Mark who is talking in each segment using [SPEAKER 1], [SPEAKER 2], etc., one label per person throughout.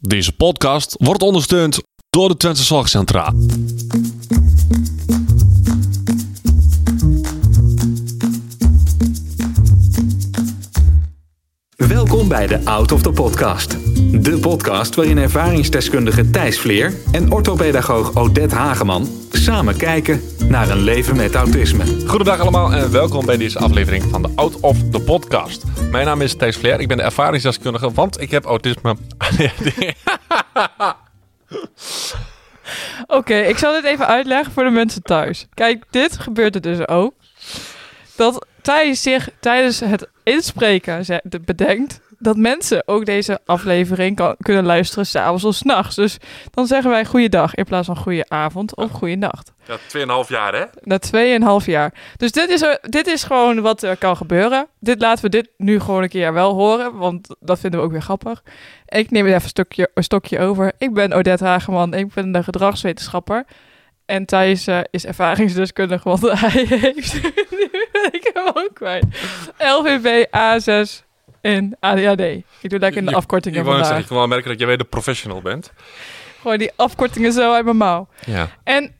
[SPEAKER 1] Deze podcast wordt ondersteund door de Twentse Zorgcentra.
[SPEAKER 2] Welkom bij de Out of the Podcast. De podcast waarin ervaringsdeskundige Thijs Vleer en orthopedagoog Odette Hageman samen kijken naar een leven met autisme.
[SPEAKER 3] Goedendag allemaal en welkom bij deze aflevering van de Out of the Podcast. Mijn naam is Thijs Vleer, ik ben de ervaringsdeskundige, want ik heb autisme.
[SPEAKER 4] Oké, ik zal dit even uitleggen voor de mensen thuis. Kijk, dit gebeurt er dus ook. Dat Thijs zich tijdens het inspreken ze- de- bedenkt dat mensen ook deze aflevering kan, kunnen luisteren s'avonds of s'nachts. Dus dan zeggen wij goeiedag in plaats van goedenavond of goeienacht.
[SPEAKER 3] ja, 2,5 jaar hè?
[SPEAKER 4] Na 2,5 jaar. Dus dit is, er- dit is gewoon wat er kan gebeuren. Dit laten we dit nu gewoon een keer wel horen, want dat vinden we ook weer grappig. Ik neem er even een, stukje, een stokje over. Ik ben Odette Hageman, ik ben de gedragswetenschapper. En Thijs eh, is ervaringsdeskundige, want hij heeft... nu ben ik hem ook kwijt. LVB, A6 en ADHD. Ik doe lekker in de
[SPEAKER 3] Je-
[SPEAKER 4] afkortingen
[SPEAKER 3] Ik wou net zeggen,
[SPEAKER 4] vandaag.
[SPEAKER 3] ik kan wel merken dat jij weer de professional bent.
[SPEAKER 4] Gewoon die afkortingen zo uit mijn mouw.
[SPEAKER 3] Ja.
[SPEAKER 4] En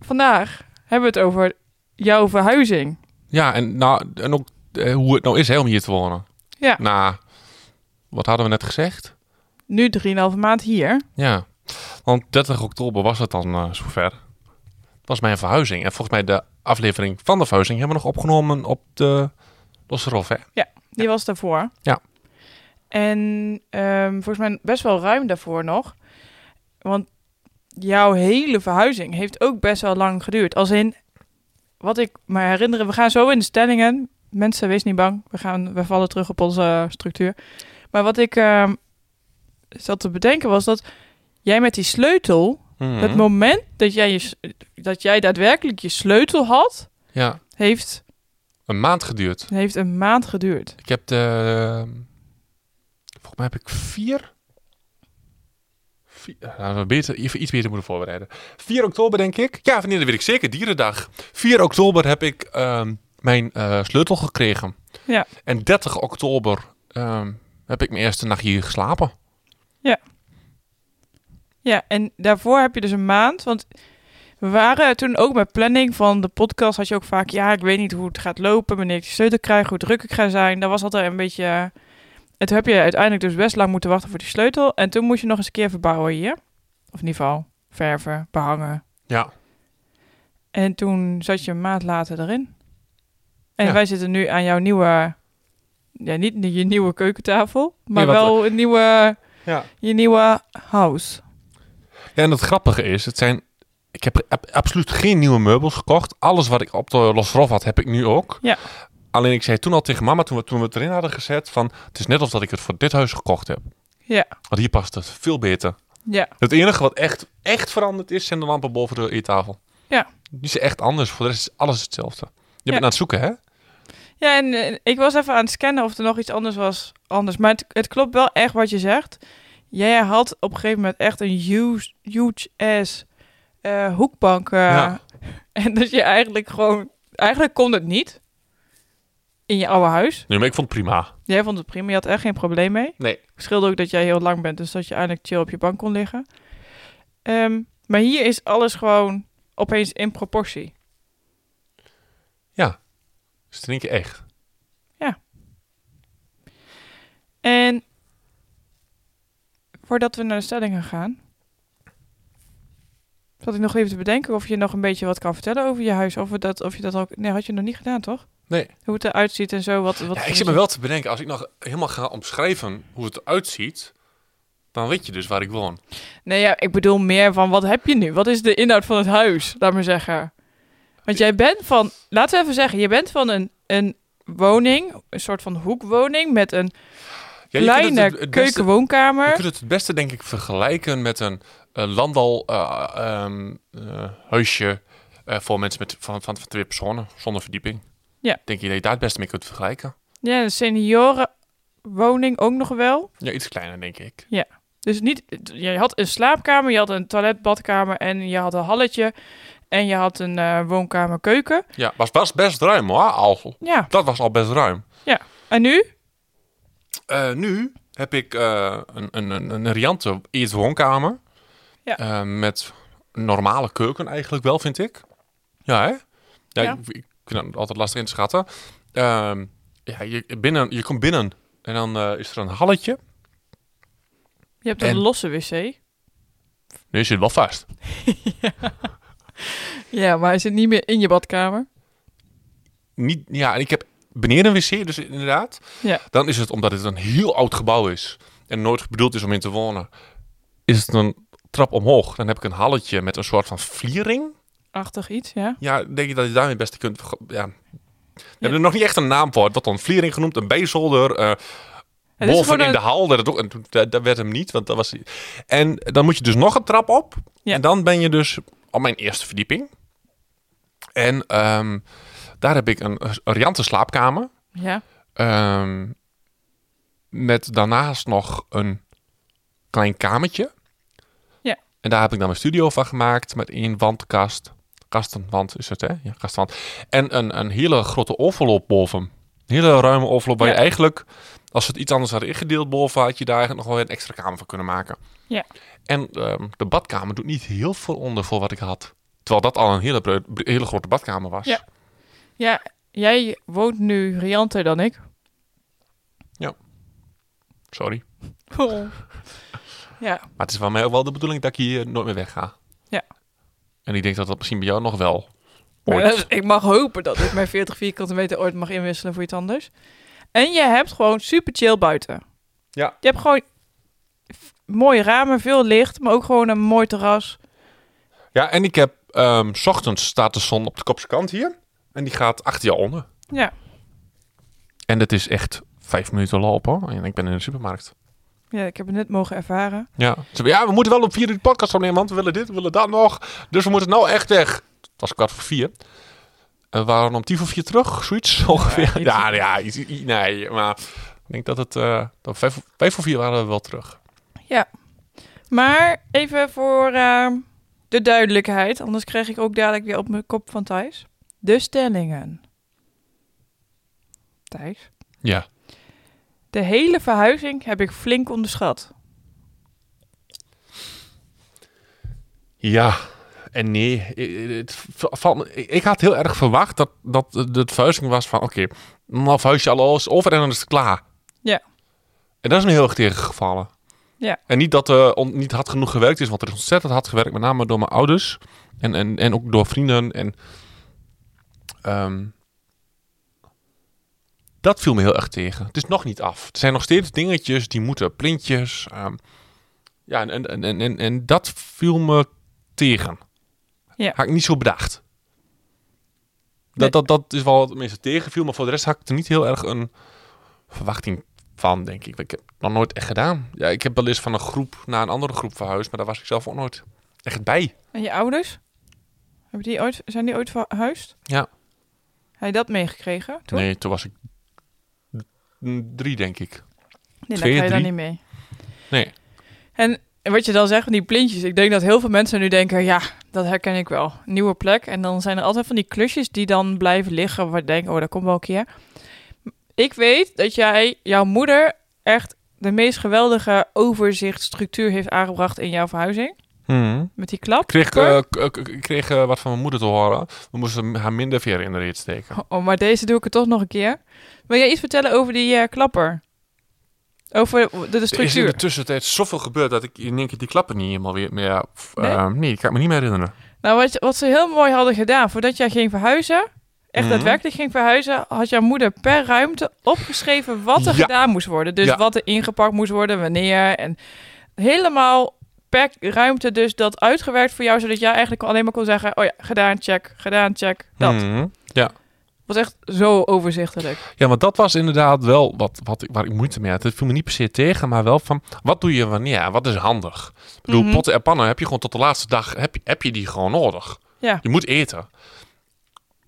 [SPEAKER 4] vandaag hebben we het over jouw verhuizing.
[SPEAKER 3] Ja, en, nou, en ook eh, hoe het nou is hè, om hier te wonen.
[SPEAKER 4] Ja.
[SPEAKER 3] Nou, wat hadden we net gezegd?
[SPEAKER 4] nu 3,5 maand hier.
[SPEAKER 3] Ja, want 30 oktober was het dan eh, zover. Dat was mijn verhuizing. En volgens mij de aflevering van de verhuizing hebben we nog opgenomen op de Losse Rof hè?
[SPEAKER 4] Die was daarvoor.
[SPEAKER 3] Ja.
[SPEAKER 4] En ehm, volgens mij best wel ruim daarvoor nog. Want jouw hele verhuizing heeft ook best wel lang geduurd. Als in, wat ik me herinner, we gaan zo in de stellingen. Mensen, wees niet bang. We, gaan, we vallen terug op onze structuur. Maar wat ik ehm, zat te bedenken was dat jij met die sleutel...
[SPEAKER 3] Mhm.
[SPEAKER 4] Het moment dat jij, je, s- dat jij daadwerkelijk je sleutel had...
[SPEAKER 3] Ja,
[SPEAKER 4] heeft,
[SPEAKER 3] een maand geduurd.
[SPEAKER 4] heeft een maand geduurd.
[SPEAKER 3] Ik heb de. Volgens mij heb ik vier. vier nou, we beter, even iets beter moeten voorbereiden. 4 oktober, denk ik. Ja, wanneer dat weet ik zeker. Dierendag. 4 oktober heb ik ehm, mijn eh, sleutel gekregen.
[SPEAKER 4] Ja.
[SPEAKER 3] En 30 oktober ehm, heb ik mijn eerste nacht hier geslapen.
[SPEAKER 4] Ja, en daarvoor heb je dus een maand. Want we waren toen ook met planning van de podcast. Had je ook vaak, ja, ik weet niet hoe het gaat lopen. Wanneer ik die sleutel krijg, hoe druk ik ga zijn. Daar was altijd een beetje. eh, En toen heb je uiteindelijk dus best lang moeten wachten voor die sleutel. En toen moest je nog eens een keer verbouwen hier. Of in ieder geval verven, behangen.
[SPEAKER 3] Ja.
[SPEAKER 4] En toen zat je een maand later erin. En
[SPEAKER 3] Ja.
[SPEAKER 4] wij zitten nu aan jouw nieuwe. Ja, niet je nieuwe keukentafel, maar
[SPEAKER 3] Nee, wat-
[SPEAKER 4] wel een nieuwe,
[SPEAKER 3] Ja.
[SPEAKER 4] je nieuwe house.
[SPEAKER 3] Ja, en het grappige is, het zijn. Ik heb ab- absoluut geen nieuwe meubels gekocht. Alles wat ik op de Los Rof had, heb ik nu ook.
[SPEAKER 4] Ja.
[SPEAKER 3] Alleen ik zei toen al tegen mama, toen we, toen we het erin hadden gezet, van het is net of dat ik het voor dit huis gekocht heb.
[SPEAKER 4] Ja.
[SPEAKER 3] Want hier past het veel beter.
[SPEAKER 4] Ja,
[SPEAKER 3] Het enige wat echt, echt veranderd is, zijn de lampen boven de eettafel.
[SPEAKER 4] Ja.
[SPEAKER 3] Die zijn echt anders. Voor de rest is alles hetzelfde. Je bent
[SPEAKER 4] Ja.
[SPEAKER 3] aan het zoeken, hè?
[SPEAKER 4] Ja, en eh, ik was even aan het scannen of er nog iets anders was. Anders. Maar het, het klopt wel echt wat je zegt. Jij had op een gegeven moment echt een huge, huge ass eh, hoekbank. eh,
[SPEAKER 3] Ja.
[SPEAKER 4] En dat je eigenlijk gewoon... Eigenlijk kon het niet. In je oude huis.
[SPEAKER 3] Nee, maar ik vond het prima.
[SPEAKER 4] Jij vond het prima. Je had echt geen probleem mee.
[SPEAKER 3] Nee.
[SPEAKER 4] Scheelde ook dat jij heel lang bent. Dus dat je eindelijk chill op je bank kon liggen. Ehm, maar hier is alles gewoon opeens in proportie.
[SPEAKER 3] Dus drink je echt.
[SPEAKER 4] En voordat we naar de stellingen gaan, zat ik nog even te bedenken of je nog een beetje wat kan vertellen over je huis. Of, we dat, of je dat ook. Nee, had je nog niet gedaan, toch?
[SPEAKER 3] Nee.
[SPEAKER 4] Hoe het eruit ziet en zo. Wat, wat
[SPEAKER 3] Ja, ik zit me wel te bedenken, als ik nog helemaal ga omschrijven hoe het eruit ziet, dan weet je dus waar ik woon.
[SPEAKER 4] Nee, ja, ik bedoel meer van wat heb je nu? Wat is de inhoud van het huis? Laat maar zeggen. Want jij bent van, laten we even zeggen, je bent van een, een woning, een soort van hoekwoning met een
[SPEAKER 3] Ja, je kunt het
[SPEAKER 4] kleine
[SPEAKER 3] het- het beste-
[SPEAKER 4] keukenwoonkamer.
[SPEAKER 3] Je kunt het het beste, denk ik, vergelijken met een eh, landal eh, ehm, eh, huisje eh, voor mensen met, van, van, van twee personen, zonder verdieping.
[SPEAKER 4] Ja.
[SPEAKER 3] Denk je dat je daar het beste mee kunt vergelijken?
[SPEAKER 4] Ja, een seniorenwoning ook nog wel.
[SPEAKER 3] Ja, iets kleiner, denk ik.
[SPEAKER 4] Dus niet, je had een slaapkamer, je had een toilet, badkamer en je had een halletje. En je had een eh, woonkamer, keuken.
[SPEAKER 3] Ja, was, was best ruim hoor, al.
[SPEAKER 4] Ja,
[SPEAKER 3] Dat was al best ruim.
[SPEAKER 4] en nu?
[SPEAKER 3] Eh, nu heb ik eh, een, een, een, een riante eetwoonkamer.
[SPEAKER 4] Ja.
[SPEAKER 3] Eh, met normale keuken eigenlijk wel, vind ik. Ja, hè? Ja,
[SPEAKER 4] Ja.
[SPEAKER 3] Ik, ik vind het altijd lastig in te schatten. Ehm, ja, je, binnen, je komt binnen en dan eh, is er een halletje.
[SPEAKER 4] Je hebt een
[SPEAKER 3] En-
[SPEAKER 4] losse wc.
[SPEAKER 3] Nu zit wel vast.
[SPEAKER 4] Ja, maar hij zit niet meer in je badkamer.
[SPEAKER 3] Niet, ja, en ik heb beneden een wc, dus inderdaad.
[SPEAKER 4] Ja.
[SPEAKER 3] Dan is het omdat het een heel oud gebouw is en nooit bedoeld is om in te wonen. Is het een trap omhoog? Dan heb ik een halletje met een soort van vliering.
[SPEAKER 4] Achtig iets, ja.
[SPEAKER 3] Ja, denk je dat je daarmee het beste kunt. vergo- Ja. We hebben er nog niet echt een naam voor. Het wordt dan vliering genoemd, een bijzolder. eh
[SPEAKER 4] Het is
[SPEAKER 3] wolven
[SPEAKER 4] gewoon
[SPEAKER 3] in
[SPEAKER 4] een-
[SPEAKER 3] de hal. Dat, ook, en toen- dat, dat werd hem niet, want dat was. En dan moet je dus nog een trap op.
[SPEAKER 4] Ja.
[SPEAKER 3] En dan ben je dus op mijn eerste verdieping. En ehm, daar heb ik een, een riante slaapkamer.
[SPEAKER 4] Ja,
[SPEAKER 3] Ehm, met daarnaast nog een klein kamertje.
[SPEAKER 4] Ja.
[SPEAKER 3] En daar heb ik dan mijn studio van gemaakt met één wandkast. Kastenwand is het, hè? Ja, kastenwand. En een, een hele grote envelop boven. Een hele ruime envelop waar
[SPEAKER 4] Ja.
[SPEAKER 3] je eigenlijk, als ze het iets anders hadden ingedeeld boven, had je daar eigenlijk nog wel weer een extra kamer van kunnen maken.
[SPEAKER 4] Ja.
[SPEAKER 3] En ehm, de badkamer doet niet heel veel onder voor wat ik had. Terwijl dat al een hele, bre- hele grote badkamer was.
[SPEAKER 4] Ja. ja jij woont nu rianter dan ik.
[SPEAKER 3] Sorry.
[SPEAKER 4] Oh. Ja,
[SPEAKER 3] Maar het is van mij ook wel de bedoeling dat ik hier nooit meer wegga.
[SPEAKER 4] Ja.
[SPEAKER 3] En ik denk dat dat misschien bij jou nog wel.
[SPEAKER 4] Maar
[SPEAKER 3] Ooit.
[SPEAKER 4] dat is- ik mag hopen dat ik mijn 40 vierkante meter ooit mag inwisselen voor iets anders. En je hebt gewoon super chill buiten.
[SPEAKER 3] Ja.
[SPEAKER 4] Je hebt gewoon f- mooie ramen, veel licht, maar ook gewoon een mooi terras.
[SPEAKER 3] Ja, en ik heb... ehm, 's ochtends staat de zon op de kopse kant hier. En die gaat achter jou onder.
[SPEAKER 4] Ja,
[SPEAKER 3] En dat is echt vijf minuten lopen. hoor. En ik ben in de supermarkt.
[SPEAKER 4] ja ik heb het net mogen ervaren.
[SPEAKER 3] Ja. Ze zeggen, ja, we moeten wel op vier uur de podcast opnemen. Want we willen dit, we willen dat nog. Dus we moeten nou echt weg. Het was kwart voor vier. En we waren om tien voor vier terug. Zoiets ongeveer.
[SPEAKER 4] iets-
[SPEAKER 3] Ja, ja. iets- i- nee, maar... Ik denk dat het... eh, dat vijf, vijf voor vier waren we wel terug.
[SPEAKER 4] Maar even voor ehm, de duidelijkheid, anders krijg ik ook dadelijk weer op mijn kop van Thijs. De stellingen. Thijs,
[SPEAKER 3] Ja.
[SPEAKER 4] de hele verhuizing heb ik flink onderschat.
[SPEAKER 3] Ja en nee. I- i- Het v- valt me- i- ik had heel erg verwacht dat, dat het de verhuizing was van... Oké, nou verhuis je alles over en dan is het klaar.
[SPEAKER 4] Ja.
[SPEAKER 3] En dat is me heel erg tegengevallen.
[SPEAKER 4] Ja.
[SPEAKER 3] En niet dat er on- niet hard genoeg gewerkt is, want er is ontzettend hard gewerkt. Met name door mijn ouders en, en, en ook door vrienden. En, ehm, dat viel me heel erg tegen. Het is nog niet af. Er zijn nog steeds dingetjes die moeten. Plintjes. ehm, ja, en, en, en, en, en dat viel me tegen.
[SPEAKER 4] Ja.
[SPEAKER 3] Had ik niet zo bedacht. Dat,
[SPEAKER 4] Nee.
[SPEAKER 3] dat, dat is wel wat het meeste tegenviel. Maar voor de rest had ik er niet heel erg een verwachting van, denk ik. Ik heb het nog nooit echt gedaan. Ja, ik heb wel eens van een groep naar een andere groep verhuisd. Maar daar was ik zelf ook nooit echt bij.
[SPEAKER 4] En je ouders? Hebben die ooit, zijn die ooit verhuisd?
[SPEAKER 3] Ja.
[SPEAKER 4] Heb je dat meegekregen toen?
[SPEAKER 3] Nee, toen was ik d- drie, denk ik.
[SPEAKER 4] nee dan
[SPEAKER 3] twee,
[SPEAKER 4] ga je daar
[SPEAKER 3] drie.
[SPEAKER 4] niet mee.
[SPEAKER 3] Nee.
[SPEAKER 4] En wat je dan zegt van die plintjes. Ik denk dat heel veel mensen nu denken, ja, dat herken ik wel. Nieuwe plek. En dan zijn er altijd van die klusjes die dan blijven liggen. Waar je denkt, oh, dat komt wel een keer. Ik weet dat jij, jouw moeder, echt de meest geweldige overzichtsstructuur heeft aangebracht in jouw verhuizing. Met die klap.
[SPEAKER 3] Ik kreeg, eh, k- k- ik kreeg eh, wat van mijn moeder te horen. We moesten haar minder ver in de reet steken.
[SPEAKER 4] Oh, maar deze doe ik er toch nog een keer. Wil jij iets vertellen over die eh, klapper? Over de, de
[SPEAKER 3] Er is in de
[SPEAKER 4] structuur.
[SPEAKER 3] tussentijd zoveel gebeurd dat ik in één keer die klappen niet helemaal weer meer... f-
[SPEAKER 4] Nee?
[SPEAKER 3] eh, nee, ik kan ik me niet meer herinneren.
[SPEAKER 4] Nou, wat, wat ze heel mooi hadden gedaan, voordat jij ging verhuizen, echt
[SPEAKER 3] Mhm.
[SPEAKER 4] daadwerkelijk ging verhuizen, had jouw moeder per ruimte opgeschreven wat er
[SPEAKER 3] Ja.
[SPEAKER 4] gedaan moest worden. Dus
[SPEAKER 3] Ja.
[SPEAKER 4] wat er ingepakt moest worden, wanneer. En helemaal per ruimte dus dat uitgewerkt voor jou, zodat jij eigenlijk alleen maar kon zeggen, oh ja, gedaan, check, gedaan, check. Dat
[SPEAKER 3] Mhm.
[SPEAKER 4] was echt zo overzichtelijk.
[SPEAKER 3] Ja, want dat was inderdaad wel wat, wat ik, waar ik moeite mee had. Het viel me niet per se tegen, maar wel van... Wat doe je wanneer? Wat is handig? Ik bedoel,
[SPEAKER 4] Mhm.
[SPEAKER 3] potten en pannen heb je gewoon tot de laatste dag... Heb, je- heb je die gewoon nodig.
[SPEAKER 4] Ja.
[SPEAKER 3] Je moet eten.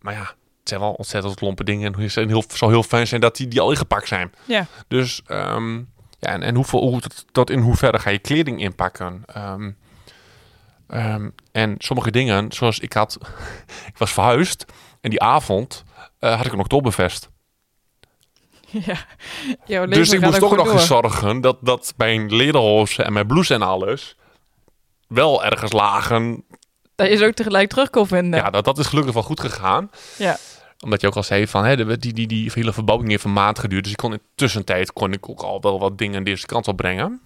[SPEAKER 3] Maar ja, het zijn wel ontzettend lompe dingen. En het heel, zou heel fijn zijn dat die, die al ingepakt zijn.
[SPEAKER 4] Ja.
[SPEAKER 3] Dus ehm, ja, en, en hoeveel, hoe, tot, tot in hoeverre ga je kleding inpakken? Ehm, ehm, en sommige dingen, zoals ik had... ik was verhuisd en die avond eh, had ik een oktoberfest.
[SPEAKER 4] ja. Jouw leven
[SPEAKER 3] Dus ik
[SPEAKER 4] gaat
[SPEAKER 3] moest
[SPEAKER 4] ook
[SPEAKER 3] toch
[SPEAKER 4] goed
[SPEAKER 3] nog
[SPEAKER 4] door.
[SPEAKER 3] eens zorgen dat, dat mijn lederhosen en mijn blouse en alles wel ergens lagen.
[SPEAKER 4] Dat je ze ook tegelijk terug kon vinden.
[SPEAKER 3] Ja, dat, dat is gelukkig wel goed gegaan.
[SPEAKER 4] Ja.
[SPEAKER 3] Omdat je ook al zei van, hè, de- die, die, die hele verbouwing heeft een maand geduurd. Dus ik kon in de tussentijd kon ik ook al wel wat dingen deze kant op brengen.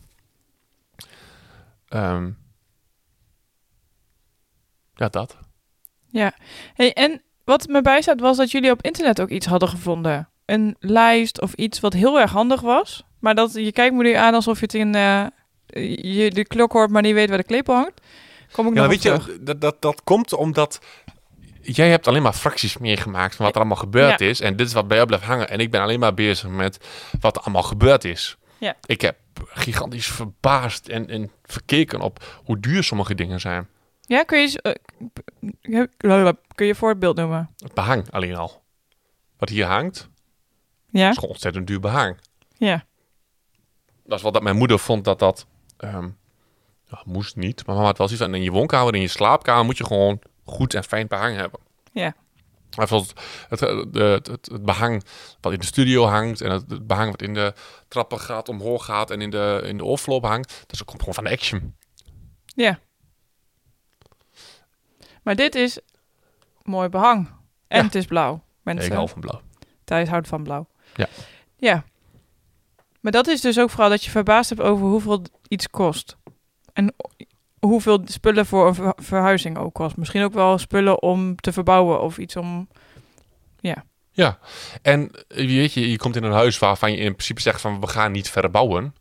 [SPEAKER 3] Ehm. ja, dat.
[SPEAKER 4] Hey, en wat me bijstaat was dat jullie op internet ook iets hadden gevonden. Een lijst of iets wat heel erg handig was. Maar dat je kijkt me nu aan alsof je het in eh, je de klok hoort, maar niet weet waar de klep hangt. Kom ik nog
[SPEAKER 3] Ja, maar
[SPEAKER 4] op
[SPEAKER 3] weet
[SPEAKER 4] terug.
[SPEAKER 3] je, dat, dat, dat komt omdat jij hebt alleen maar fracties meegemaakt van wat er allemaal gebeurd is. En dit is wat bij jou blijft hangen. En ik ben alleen maar bezig met wat er allemaal gebeurd is.
[SPEAKER 4] Ja.
[SPEAKER 3] Ik heb gigantisch verbaasd en, en verkeken op hoe duur sommige dingen zijn.
[SPEAKER 4] Ja, kun je, eens, eh, k- p- kun je een voorbeeld noemen?
[SPEAKER 3] Het behang alleen al. Wat hier hangt,
[SPEAKER 4] Ja?
[SPEAKER 3] is gewoon ontzettend duur behang.
[SPEAKER 4] Ja.
[SPEAKER 3] Dat is wat dat mijn moeder vond dat dat... ehm, ja, moest niet, maar mama had wel zoiets van... in je woonkamer, in je slaapkamer moet je gewoon goed en fijn behang hebben.
[SPEAKER 4] Ja.
[SPEAKER 3] Hij vond het, het, het, het- het behang wat in de studio hangt... en het, het behang wat in de trappen gaat, omhoog gaat... en in de, in de overloop hangt, dat komt gewoon van Action.
[SPEAKER 4] Ja. Maar dit is mooi behang. En
[SPEAKER 3] Ja.
[SPEAKER 4] het is blauw. Mensen,
[SPEAKER 3] Ik hou van blauw.
[SPEAKER 4] Thijs houdt van blauw.
[SPEAKER 3] Ja.
[SPEAKER 4] Ja. Maar dat is dus ook vooral dat je verbaasd hebt over hoeveel iets kost. En o- hoeveel spullen voor een ver- verhuizing ook kost. Misschien ook wel spullen om te verbouwen of iets om...
[SPEAKER 3] En eh, weet je, je komt in een huis waarvan je in principe zegt van... we gaan niet verbouwen.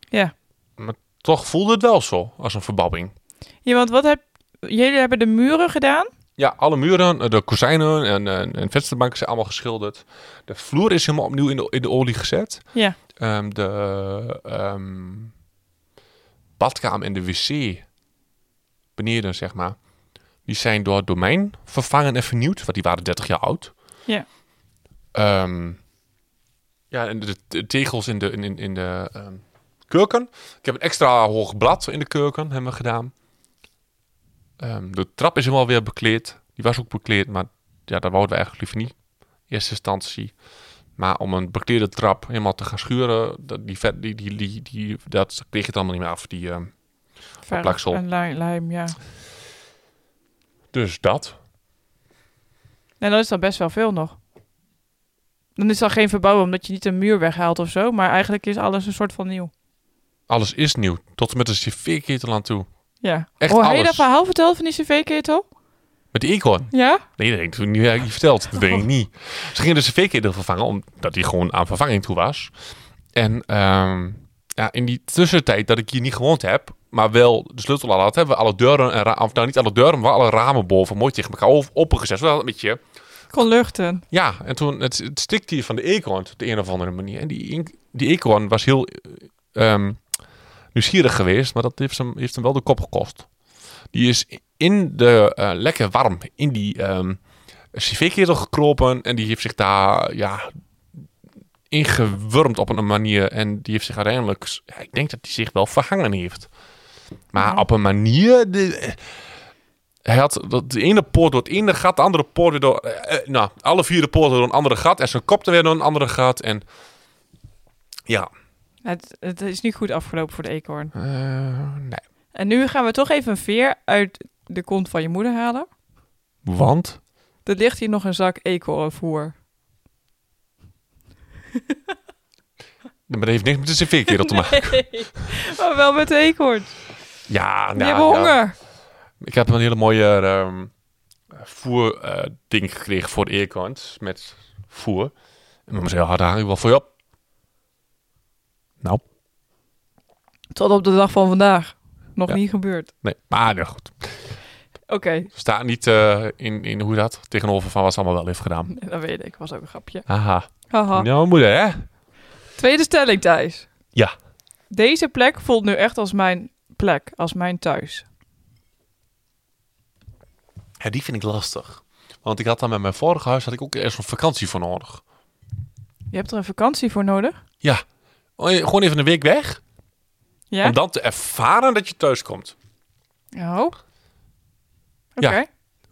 [SPEAKER 4] Ja.
[SPEAKER 3] Maar toch voelde het wel zo, als een verbouwing.
[SPEAKER 4] Ja, want wat heb... Jullie hebben de muren gedaan?
[SPEAKER 3] Ja, alle muren, eh, de kozijnen en, en, en vensterbanken zijn allemaal geschilderd. De vloer is helemaal opnieuw in de, in de olie gezet.
[SPEAKER 4] Ja.
[SPEAKER 3] Ehm, de ehm, badkamer en de wc beneden, zeg maar. Die zijn door het domein vervangen en vernieuwd, want die waren 30 jaar oud.
[SPEAKER 4] Ja.
[SPEAKER 3] Ehm, ja, en de, de tegels in de, in, in, in de ehm, keuken. Ik heb een extra hoog blad in de keuken, hebben we gedaan. Ehm, de trap is helemaal weer bekleed. Die was ook bekleed, maar ja, dat wouden we eigenlijk liever niet. In eerste instantie. Maar om een beklede trap helemaal te gaan schuren, dat, die, vet- die, die, die, die- dat kreeg je het allemaal niet meer af. Die, ehm,
[SPEAKER 4] Verf
[SPEAKER 3] plaksel.
[SPEAKER 4] En li- lijm, ja.
[SPEAKER 3] dus dat.
[SPEAKER 4] En dat is dan best wel veel nog. Dan is dat geen verbouwen omdat je niet een muur weghaalt of zo. Maar eigenlijk is alles een soort van nieuw.
[SPEAKER 3] Alles is nieuw. Tot en met de cv-ketel aan toe.
[SPEAKER 4] Ja.
[SPEAKER 3] Echt
[SPEAKER 4] oh, heb je
[SPEAKER 3] alles.
[SPEAKER 4] dat verhaal verteld van die cv-ketel?
[SPEAKER 3] Met de eekhoorn.
[SPEAKER 4] Ja?
[SPEAKER 3] Nee, dat heb ik toen niet, heb ik niet verteld. Dat denk ik niet. Ze gingen de cv-ketel vervangen, omdat die gewoon aan vervanging toe was. En ehm, ja, in die tussentijd dat ik hier niet gewoond heb, maar wel de sleutel al had, hebben we alle deuren, en ra- of nou niet alle deuren, maar alle ramen boven mooi tegen elkaar op- opengezet. Zodat het een beetje
[SPEAKER 4] Kon luchten.
[SPEAKER 3] ja, en toen het, het stikte hier van de eekhoorn op de een of andere manier. En die, ink- die eekhoorn was heel eh, ehm, nieuwsgierig geweest, maar dat heeft hem, heeft hem wel de kop gekost. Die is in de eh, lekker warm in die ehm cv-ketel gekropen en die heeft zich daar ja, ingewurmd op een manier. En die heeft zich uiteindelijk, s- ja, ik denk dat hij zich wel verhangen heeft. Maar
[SPEAKER 4] Ja.
[SPEAKER 3] op een manier. de- hij had dat- de ene poort door het ene gat, de andere poort weer door. eh, eh, nou, alle vier de poorten door een andere gat. En zijn kop er weer door een andere gat. En ja,
[SPEAKER 4] Het, het is niet goed afgelopen voor de eekhoorn.
[SPEAKER 3] eh, nee.
[SPEAKER 4] En nu gaan we toch even een veer uit de kont van je moeder halen.
[SPEAKER 3] Want?
[SPEAKER 4] Er ligt hier nog een zak eekhoornvoer.
[SPEAKER 3] Maar dat heeft niks met de cv-kerel te maken.
[SPEAKER 4] Nee, maar wel met de eekhoorn. Die
[SPEAKER 3] Ja, nou,
[SPEAKER 4] hebben
[SPEAKER 3] ja.
[SPEAKER 4] honger.
[SPEAKER 3] Ik heb een hele mooie ehm voerding gekregen voor de eekhoorns. Met voer. En dan zei hard hang ik wel voor je op. Nou,
[SPEAKER 4] Tot op de dag van vandaag. Nog
[SPEAKER 3] Ja.
[SPEAKER 4] niet gebeurd.
[SPEAKER 3] nee. Maar nou goed.
[SPEAKER 4] Oké,
[SPEAKER 3] Staat niet eh, in, in hoe dat tegenover van wat ze allemaal wel heeft gedaan.
[SPEAKER 4] dat weet ik. Was ook een grapje.
[SPEAKER 3] Haha.
[SPEAKER 4] Haha.
[SPEAKER 3] Nou, moeder, hè?
[SPEAKER 4] Tweede stelling, Thijs.
[SPEAKER 3] Ja.
[SPEAKER 4] Deze plek voelt nu echt als mijn plek, als mijn thuis.
[SPEAKER 3] Ja, die vind ik lastig. Want ik had dan met mijn vorige huis had ik ook eerst een vakantie voor nodig.
[SPEAKER 4] Je hebt er een vakantie voor nodig.
[SPEAKER 3] Ja. Oh, je- Gewoon even een week weg.
[SPEAKER 4] Ja?
[SPEAKER 3] Om dan te ervaren dat je thuis komt.
[SPEAKER 4] Oh. Oké.
[SPEAKER 3] Ja.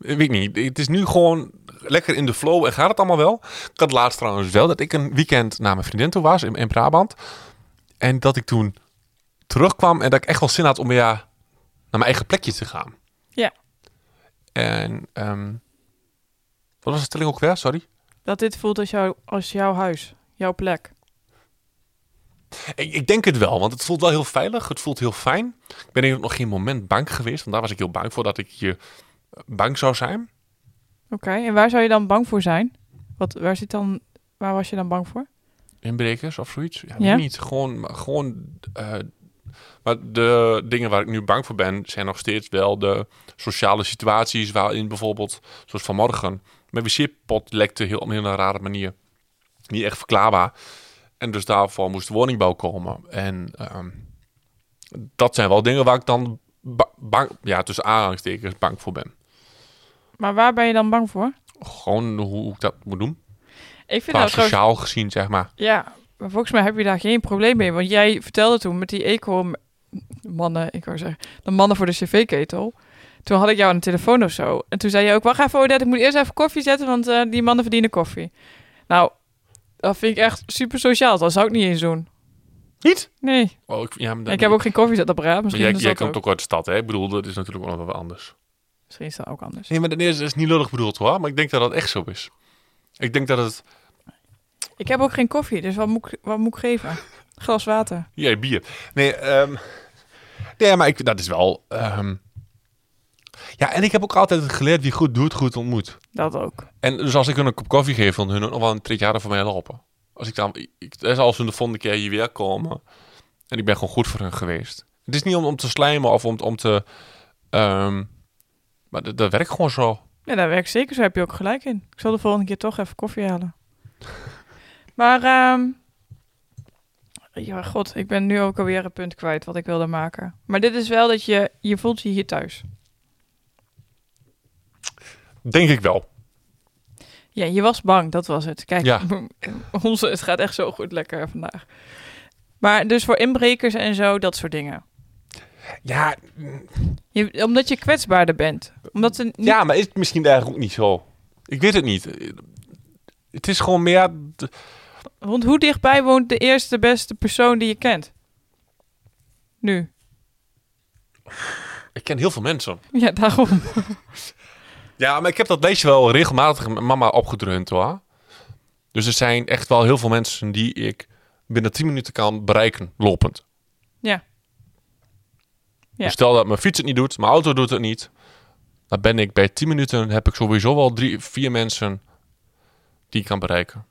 [SPEAKER 3] Eh, Weet ik niet. Het is nu gewoon lekker in de flow en gaat het allemaal wel. Ik had laatst trouwens wel dat ik een weekend naar mijn vriendin toe was in, in Brabant. En dat ik toen terugkwam en dat ik echt wel zin had om weer naar mijn eigen plekje te gaan.
[SPEAKER 4] Ja.
[SPEAKER 3] En ehm, wat was de stelling ook weer? Sorry.
[SPEAKER 4] Dat dit voelt als, jou, als jouw huis, jouw plek.
[SPEAKER 3] Ik, ik denk het wel, want het voelt wel heel veilig. Het voelt heel fijn. Ik ben hier ook nog geen moment bang geweest, want daar was ik heel bang voor dat ik hier bang zou zijn.
[SPEAKER 4] Oké, en waar zou je dan bang voor zijn? Wat, waar, zit dan, waar was je dan bang voor?
[SPEAKER 3] Inbrekers of zoiets. Ja,
[SPEAKER 4] Ja.
[SPEAKER 3] weet niet. Gewoon, maar gewoon eh, maar de dingen waar ik nu bang voor ben, zijn nog steeds wel de sociale situaties waarin bijvoorbeeld, zoals vanmorgen, mijn wc-pot lekte heel, op een hele rare manier. Niet echt verklaarbaar. En dus daarvoor moest woningbouw komen. En ehm, dat zijn wel dingen waar ik dan ba- bang, ja, tussen aanhalingstekens bang voor ben.
[SPEAKER 4] Maar waar ben je dan bang voor?
[SPEAKER 3] Gewoon hoe ik dat moet doen.
[SPEAKER 4] Ik vind
[SPEAKER 3] Qua
[SPEAKER 4] dat trouwens-
[SPEAKER 3] sociaal gezien, zeg maar.
[SPEAKER 4] Ja, maar volgens mij heb je daar geen probleem mee. Want jij vertelde toen met die eco mannen, ik wou zeggen, de mannen voor de cv-ketel. Toen had ik jou aan de telefoon of zo. En toen zei je ook, wacht even Odette, ik moet eerst even koffie zetten, want eh, die mannen verdienen koffie. Nou, dat vind ik echt super sociaal. Dat zou ik niet eens doen.
[SPEAKER 3] Niet?
[SPEAKER 4] Nee,
[SPEAKER 3] Oh, ik, ja, maar dat-
[SPEAKER 4] ik heb ook geen koffiezetapparaat.
[SPEAKER 3] Maar
[SPEAKER 4] Misschien,
[SPEAKER 3] jij,
[SPEAKER 4] is
[SPEAKER 3] jij
[SPEAKER 4] dat
[SPEAKER 3] komt
[SPEAKER 4] ook.
[SPEAKER 3] ook uit de stad, hè? Ik bedoel, dat is natuurlijk wel wat anders.
[SPEAKER 4] Misschien is dat ook anders.
[SPEAKER 3] Nee, maar dat is, is niet lullig bedoeld hoor, maar ik denk dat dat echt zo is. Ik denk dat het...
[SPEAKER 4] Ik heb ook geen koffie, dus wat moet ik, wat moet ik geven? Glas water.
[SPEAKER 3] Jij bier. Nee, ehm, nee maar ik, dat is wel... ehm, ja, en ik heb ook altijd geleerd wie goed doet, goed ontmoet.
[SPEAKER 4] Dat ook.
[SPEAKER 3] En dus als ik hun een kop koffie geef, dan hun nog wel een tritje harder voor mij lopen. Als ik dan, ik- ik, dat is als hun de volgende keer hier weer komen. En ik ben gewoon goed voor hun geweest. Het is niet om, om te slijmen of om, om te... ehm, maar dat, dat werkt gewoon zo.
[SPEAKER 4] Ja, daar werkt zeker zo. Heb je ook gelijk in. Ik zal de volgende keer toch even koffie halen. Maar, ehm, ja, god, ik ben nu ook alweer een punt kwijt wat ik wilde maken. Maar dit is wel dat je, je voelt je hier thuis.
[SPEAKER 3] Denk ik wel.
[SPEAKER 4] Ja, je was bang, dat was het. Kijk,
[SPEAKER 3] Ja.
[SPEAKER 4] onze, het gaat echt zo goed lekker vandaag. Maar dus voor inbrekers en zo, dat soort dingen.
[SPEAKER 3] Ja,
[SPEAKER 4] Je, omdat je kwetsbaarder bent. Omdat er niet-
[SPEAKER 3] ja, maar is het misschien eigenlijk ook niet zo? Ik weet het niet. Het is gewoon meer... d-
[SPEAKER 4] Want hoe dichtbij woont de eerste beste persoon die je kent? Nu.
[SPEAKER 3] Ik ken heel veel mensen.
[SPEAKER 4] Ja, daarom.
[SPEAKER 3] Ja, maar ik heb dat lijstje wel regelmatig met mama opgedreund hoor. Dus er zijn echt wel heel veel mensen die ik binnen 10 minuten kan bereiken, lopend.
[SPEAKER 4] Ja. Ja.
[SPEAKER 3] Dus stel dat mijn fiets het niet doet, mijn auto doet het niet. Dan ben ik bij 10 minuten, heb ik sowieso wel drie, vier mensen die ik kan bereiken.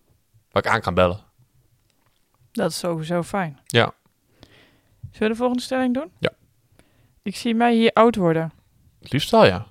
[SPEAKER 3] Waar ik aan kan bellen.
[SPEAKER 4] Dat is sowieso fijn.
[SPEAKER 3] Ja.
[SPEAKER 4] Zullen we de volgende stelling doen?
[SPEAKER 3] Ja.
[SPEAKER 4] Ik zie mij hier oud worden.
[SPEAKER 3] Het liefst wel, ja.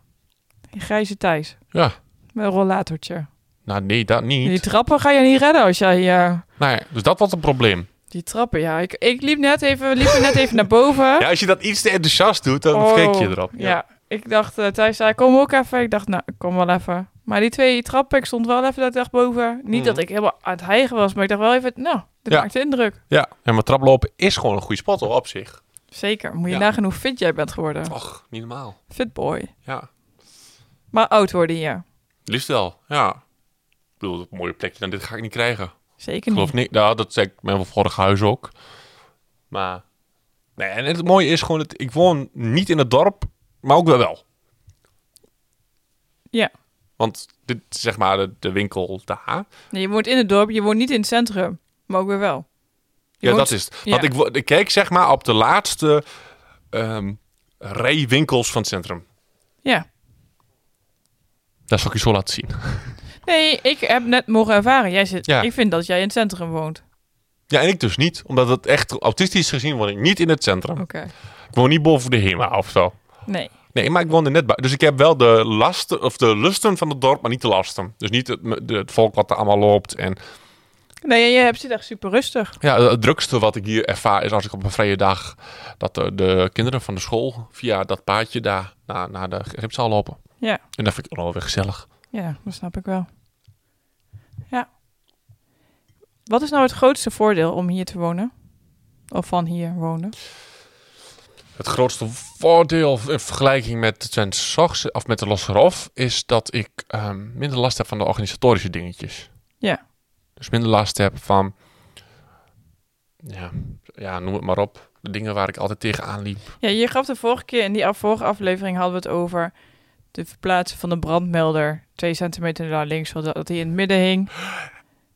[SPEAKER 4] In grijze Thijs.
[SPEAKER 3] Ja.
[SPEAKER 4] Met een rollatortje.
[SPEAKER 3] Nou, nee, dat niet.
[SPEAKER 4] Die trappen ga je niet redden als jij... eh,
[SPEAKER 3] Nee, dus dat was een probleem.
[SPEAKER 4] die trappen, ja. Ik, ik liep net even, we liepen net even naar boven.
[SPEAKER 3] Ja, als je dat iets te enthousiast doet, dan
[SPEAKER 4] Oh,
[SPEAKER 3] vergeet je erop.
[SPEAKER 4] Ja. Ik dacht, eh, Thijs zei, kom ook even. Ik dacht, nou, ik kom wel even. Maar die twee trappen, ik stond wel even dat dag boven. Niet
[SPEAKER 3] Mhm.
[SPEAKER 4] dat ik helemaal aan het hijgen was, maar ik dacht wel even, nou, dit
[SPEAKER 3] Ja.
[SPEAKER 4] maakt indruk.
[SPEAKER 3] Ja, en mijn traplopen is gewoon een goede spot hoor, op zich.
[SPEAKER 4] Zeker. Moet je
[SPEAKER 3] Ja.
[SPEAKER 4] nagaan hoe fit jij bent geworden.
[SPEAKER 3] Och, niet normaal.
[SPEAKER 4] Fit boy.
[SPEAKER 3] Ja,
[SPEAKER 4] Maar oud worden, ja.
[SPEAKER 3] liefst wel. Ja. Ik bedoel, een mooie plekje dan dit ga ik niet krijgen.
[SPEAKER 4] Zeker
[SPEAKER 3] Ik
[SPEAKER 4] niet.
[SPEAKER 3] geloof niet. Nou, dat zei ik met mijn vorige huis ook. Maar, nee, en het mooie is gewoon, dat ik woon niet in het dorp, maar ook wel wel.
[SPEAKER 4] Ja.
[SPEAKER 3] Want dit is zeg maar de, de winkel daar.
[SPEAKER 4] Nee, je woont in het dorp, je woont niet in het centrum. Maar ook weer wel. Je
[SPEAKER 3] Ja,
[SPEAKER 4] woont-
[SPEAKER 3] dat is het.
[SPEAKER 4] ja.
[SPEAKER 3] Want ik, wo- ik keek zeg maar op de laatste ehm rij winkels van het centrum.
[SPEAKER 4] Ja.
[SPEAKER 3] Dat zal ik je zo laten zien.
[SPEAKER 4] Nee, ik heb net mogen ervaren. Jij zit,
[SPEAKER 3] Ja.
[SPEAKER 4] Ik vind dat jij in het centrum woont.
[SPEAKER 3] Ja, en ik dus niet. Omdat het echt autistisch gezien woon ik niet in het centrum.
[SPEAKER 4] Oké.
[SPEAKER 3] Ik woon niet boven de HEMA of zo.
[SPEAKER 4] Nee.
[SPEAKER 3] Nee, maar ik woon er net bij. Dus ik heb wel de lasten of de lusten van het dorp, maar niet de lasten. Dus niet het, me- de- het volk wat er allemaal loopt. En
[SPEAKER 4] Nee, je hebt zit echt super rustig.
[SPEAKER 3] ja, het drukste wat ik hier ervaar is als ik op een vrije dag dat de, de kinderen van de school via dat paadje daar naar, naar de gymzaal lopen.
[SPEAKER 4] Ja.
[SPEAKER 3] En dat vind ik wel weer gezellig.
[SPEAKER 4] Ja, dat snap ik wel. Ja. Wat is nou het grootste voordeel om hier te wonen? Of van hier wonen?
[SPEAKER 3] Het grootste voordeel in vergelijking met de Twente Sox, of met de Losse Rof, is dat ik ehm, minder last heb van de organisatorische dingetjes.
[SPEAKER 4] Ja.
[SPEAKER 3] Dus minder last heb van, ja, ja noem het maar op, de dingen waar ik altijd tegenaan liep.
[SPEAKER 4] Ja, je gaf de vorige keer in die af- vorige aflevering hadden we het over de verplaatsen van de brandmelder twee centimeter naar links, zodat hij in het midden hing.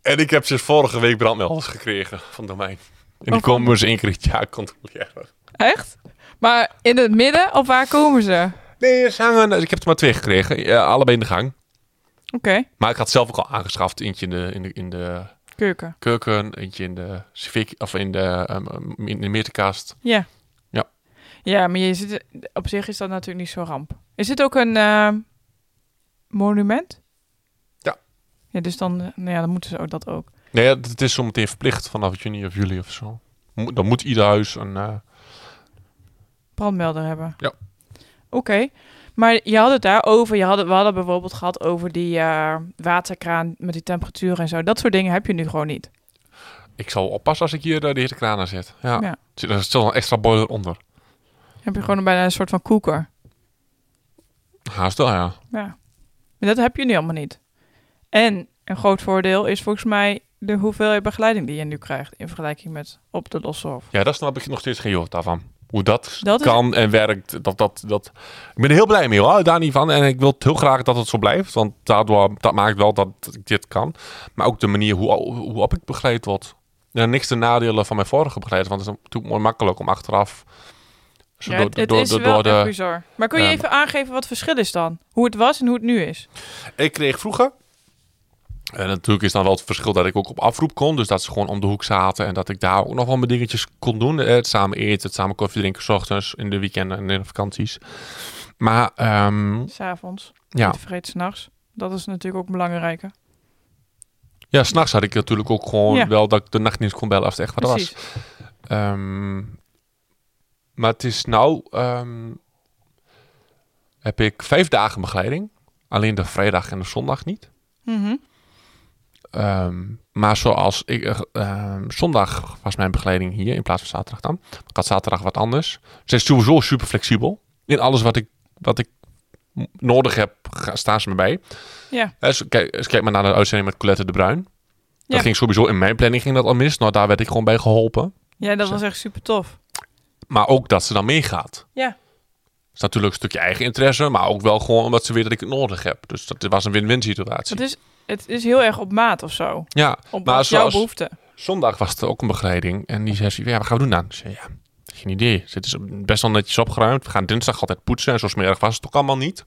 [SPEAKER 3] En ik heb sinds vorige week brandmelders gekregen van domein. En die
[SPEAKER 4] Waarvan?
[SPEAKER 3] komen eens één keer het jaar controleren.
[SPEAKER 4] Echt? Maar in het midden, of waar komen ze?
[SPEAKER 3] Nee, ze hangen, dus ik heb er maar twee gekregen, eh, allebei in de gang.
[SPEAKER 4] Oké,
[SPEAKER 3] Maar ik had zelf ook al aangeschaft, eentje in de, in de, in de
[SPEAKER 4] keuken.
[SPEAKER 3] keuken, eentje in de civic, of in de, ehm, in de meterkast.
[SPEAKER 4] Ja.
[SPEAKER 3] Ja.
[SPEAKER 4] Ja, maar je zit, op zich is dat natuurlijk niet zo'n ramp. Is dit ook een eh, monument?
[SPEAKER 3] Ja.
[SPEAKER 4] Ja, dus dan, eh, nou ja, dan moeten ze ook dat ook.
[SPEAKER 3] Nee, het het is zometeen verplicht vanaf juni of juli of zo. Mo- Dan moet ieder huis een... eh,
[SPEAKER 4] brandmelder hebben.
[SPEAKER 3] Ja.
[SPEAKER 4] Oké. Maar je had het daarover. Je had het, we hadden bijvoorbeeld gehad over die eh, waterkraan met die temperatuur en zo. Dat soort dingen heb je nu gewoon niet.
[SPEAKER 3] ik zal oppassen als ik hier eh, de hittekraan aan zet. Ja.
[SPEAKER 4] Ja.
[SPEAKER 3] Er zit- Er zit al een extra boiler onder.
[SPEAKER 4] Heb je gewoon bijna een soort van koeker.
[SPEAKER 3] Haast wel, ja.
[SPEAKER 4] Ja. Maar dat heb je nu allemaal niet. En een groot voordeel is volgens mij de hoeveelheid begeleiding die je nu krijgt in vergelijking met op de losse hof.
[SPEAKER 3] Ja, daar snap ik nog steeds geen jood daarvan. Hoe dat,
[SPEAKER 4] Dat is-
[SPEAKER 3] kan en werkt. Dat, dat, dat. Ik ben er heel blij mee hoor, daar niet van. En ik wil het heel graag dat het zo blijft. Want daardoor, dat maakt wel dat ik dit kan. Maar ook de manier hoe, hoe op ik begeleid word. Ja, niks te nadelen van mijn vorige begeleider. Want het is natuurlijk mooi makkelijk om achteraf... zo
[SPEAKER 4] Ja,
[SPEAKER 3] door-
[SPEAKER 4] het, het
[SPEAKER 3] door-
[SPEAKER 4] is
[SPEAKER 3] door-
[SPEAKER 4] wel
[SPEAKER 3] door de-
[SPEAKER 4] echt bizar. Maar kun je
[SPEAKER 3] Ja,
[SPEAKER 4] even aangeven wat het verschil is dan? Hoe het was en hoe het nu is?
[SPEAKER 3] Ik kreeg vroeger. En natuurlijk is dan wel het verschil dat ik ook op afroep kon. Dus dat ze gewoon om de hoek zaten. En dat ik daar ook nog wel mijn dingetjes kon doen. Eh, Het samen eten, het samen koffie drinken. 's ochtends, in de weekenden en in de vakanties. Maar ehm,
[SPEAKER 4] S'avonds,
[SPEAKER 3] ja,
[SPEAKER 4] niet vergeet s'nachts. Dat is natuurlijk ook belangrijker.
[SPEAKER 3] ja s'nachts had ik natuurlijk ook gewoon
[SPEAKER 4] Ja.
[SPEAKER 3] wel dat ik de nachtdienst kon bellen als het echt wat was.
[SPEAKER 4] Precies.
[SPEAKER 3] Ehm, maar het is nou... ehm, heb ik vijf dagen begeleiding. Alleen de vrijdag en de zondag niet.
[SPEAKER 4] Mhm.
[SPEAKER 3] Ehm, maar zoals ik, eh, ehm, zondag was mijn begeleiding hier in plaats van zaterdag dan. Ik had zaterdag wat anders. Ze is sowieso super flexibel. In alles wat ik, wat ik m- nodig heb, ga- staan ze me bij.
[SPEAKER 4] Ja.
[SPEAKER 3] Eh, zo- kijk, eens kijk maar naar de uitzending met Colette de Bruin. Dat
[SPEAKER 4] Ja.
[SPEAKER 3] ging sowieso in mijn planning ging dat al mis. Nou, daar werd ik gewoon bij geholpen.
[SPEAKER 4] Ja, dat
[SPEAKER 3] Zo.
[SPEAKER 4] was echt super tof.
[SPEAKER 3] Maar ook dat ze dan meegaat.
[SPEAKER 4] Ja.
[SPEAKER 3] is natuurlijk een stukje eigen interesse, maar ook wel gewoon omdat ze weet dat ik het nodig heb. Dus dat was een win-win situatie.
[SPEAKER 4] Het is, het is heel erg op maat of zo.
[SPEAKER 3] Ja,
[SPEAKER 4] Op
[SPEAKER 3] Maar
[SPEAKER 4] wat jouw
[SPEAKER 3] zoals-
[SPEAKER 4] behoefte.
[SPEAKER 3] Zondag was er ook een begeleiding. En die zei, ze, ja, wat gaan we doen dan? Ik zei, ja, geen idee. Het is best wel netjes opgeruimd. We gaan dinsdag altijd poetsen. En zo smerig was het ook allemaal niet.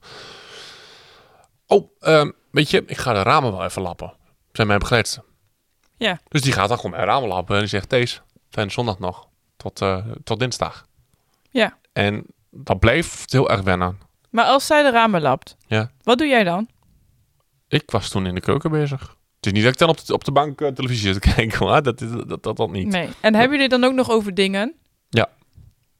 [SPEAKER 3] Oh, ehm, weet je, ik ga de ramen wel even lappen. Zijn mijn begeleidster.
[SPEAKER 4] Ja.
[SPEAKER 3] Dus die gaat dan gewoon mijn ramen lappen. En die zegt, Thees, fijne zondag nog. Tot, eh, tot dinsdag.
[SPEAKER 4] Ja.
[SPEAKER 3] En dat blijft heel erg wennen.
[SPEAKER 4] Maar als zij de ramen lapt,
[SPEAKER 3] Ja.
[SPEAKER 4] wat doe jij dan?
[SPEAKER 3] Ik was toen in de keuken bezig. Het is niet dat ik dan op de, op de bank eh, televisie zit te kijken. Maar dat, dat, dat, dat, dat niet.
[SPEAKER 4] Nee. En hebben jullie het dan ook nog over dingen?
[SPEAKER 3] Ja.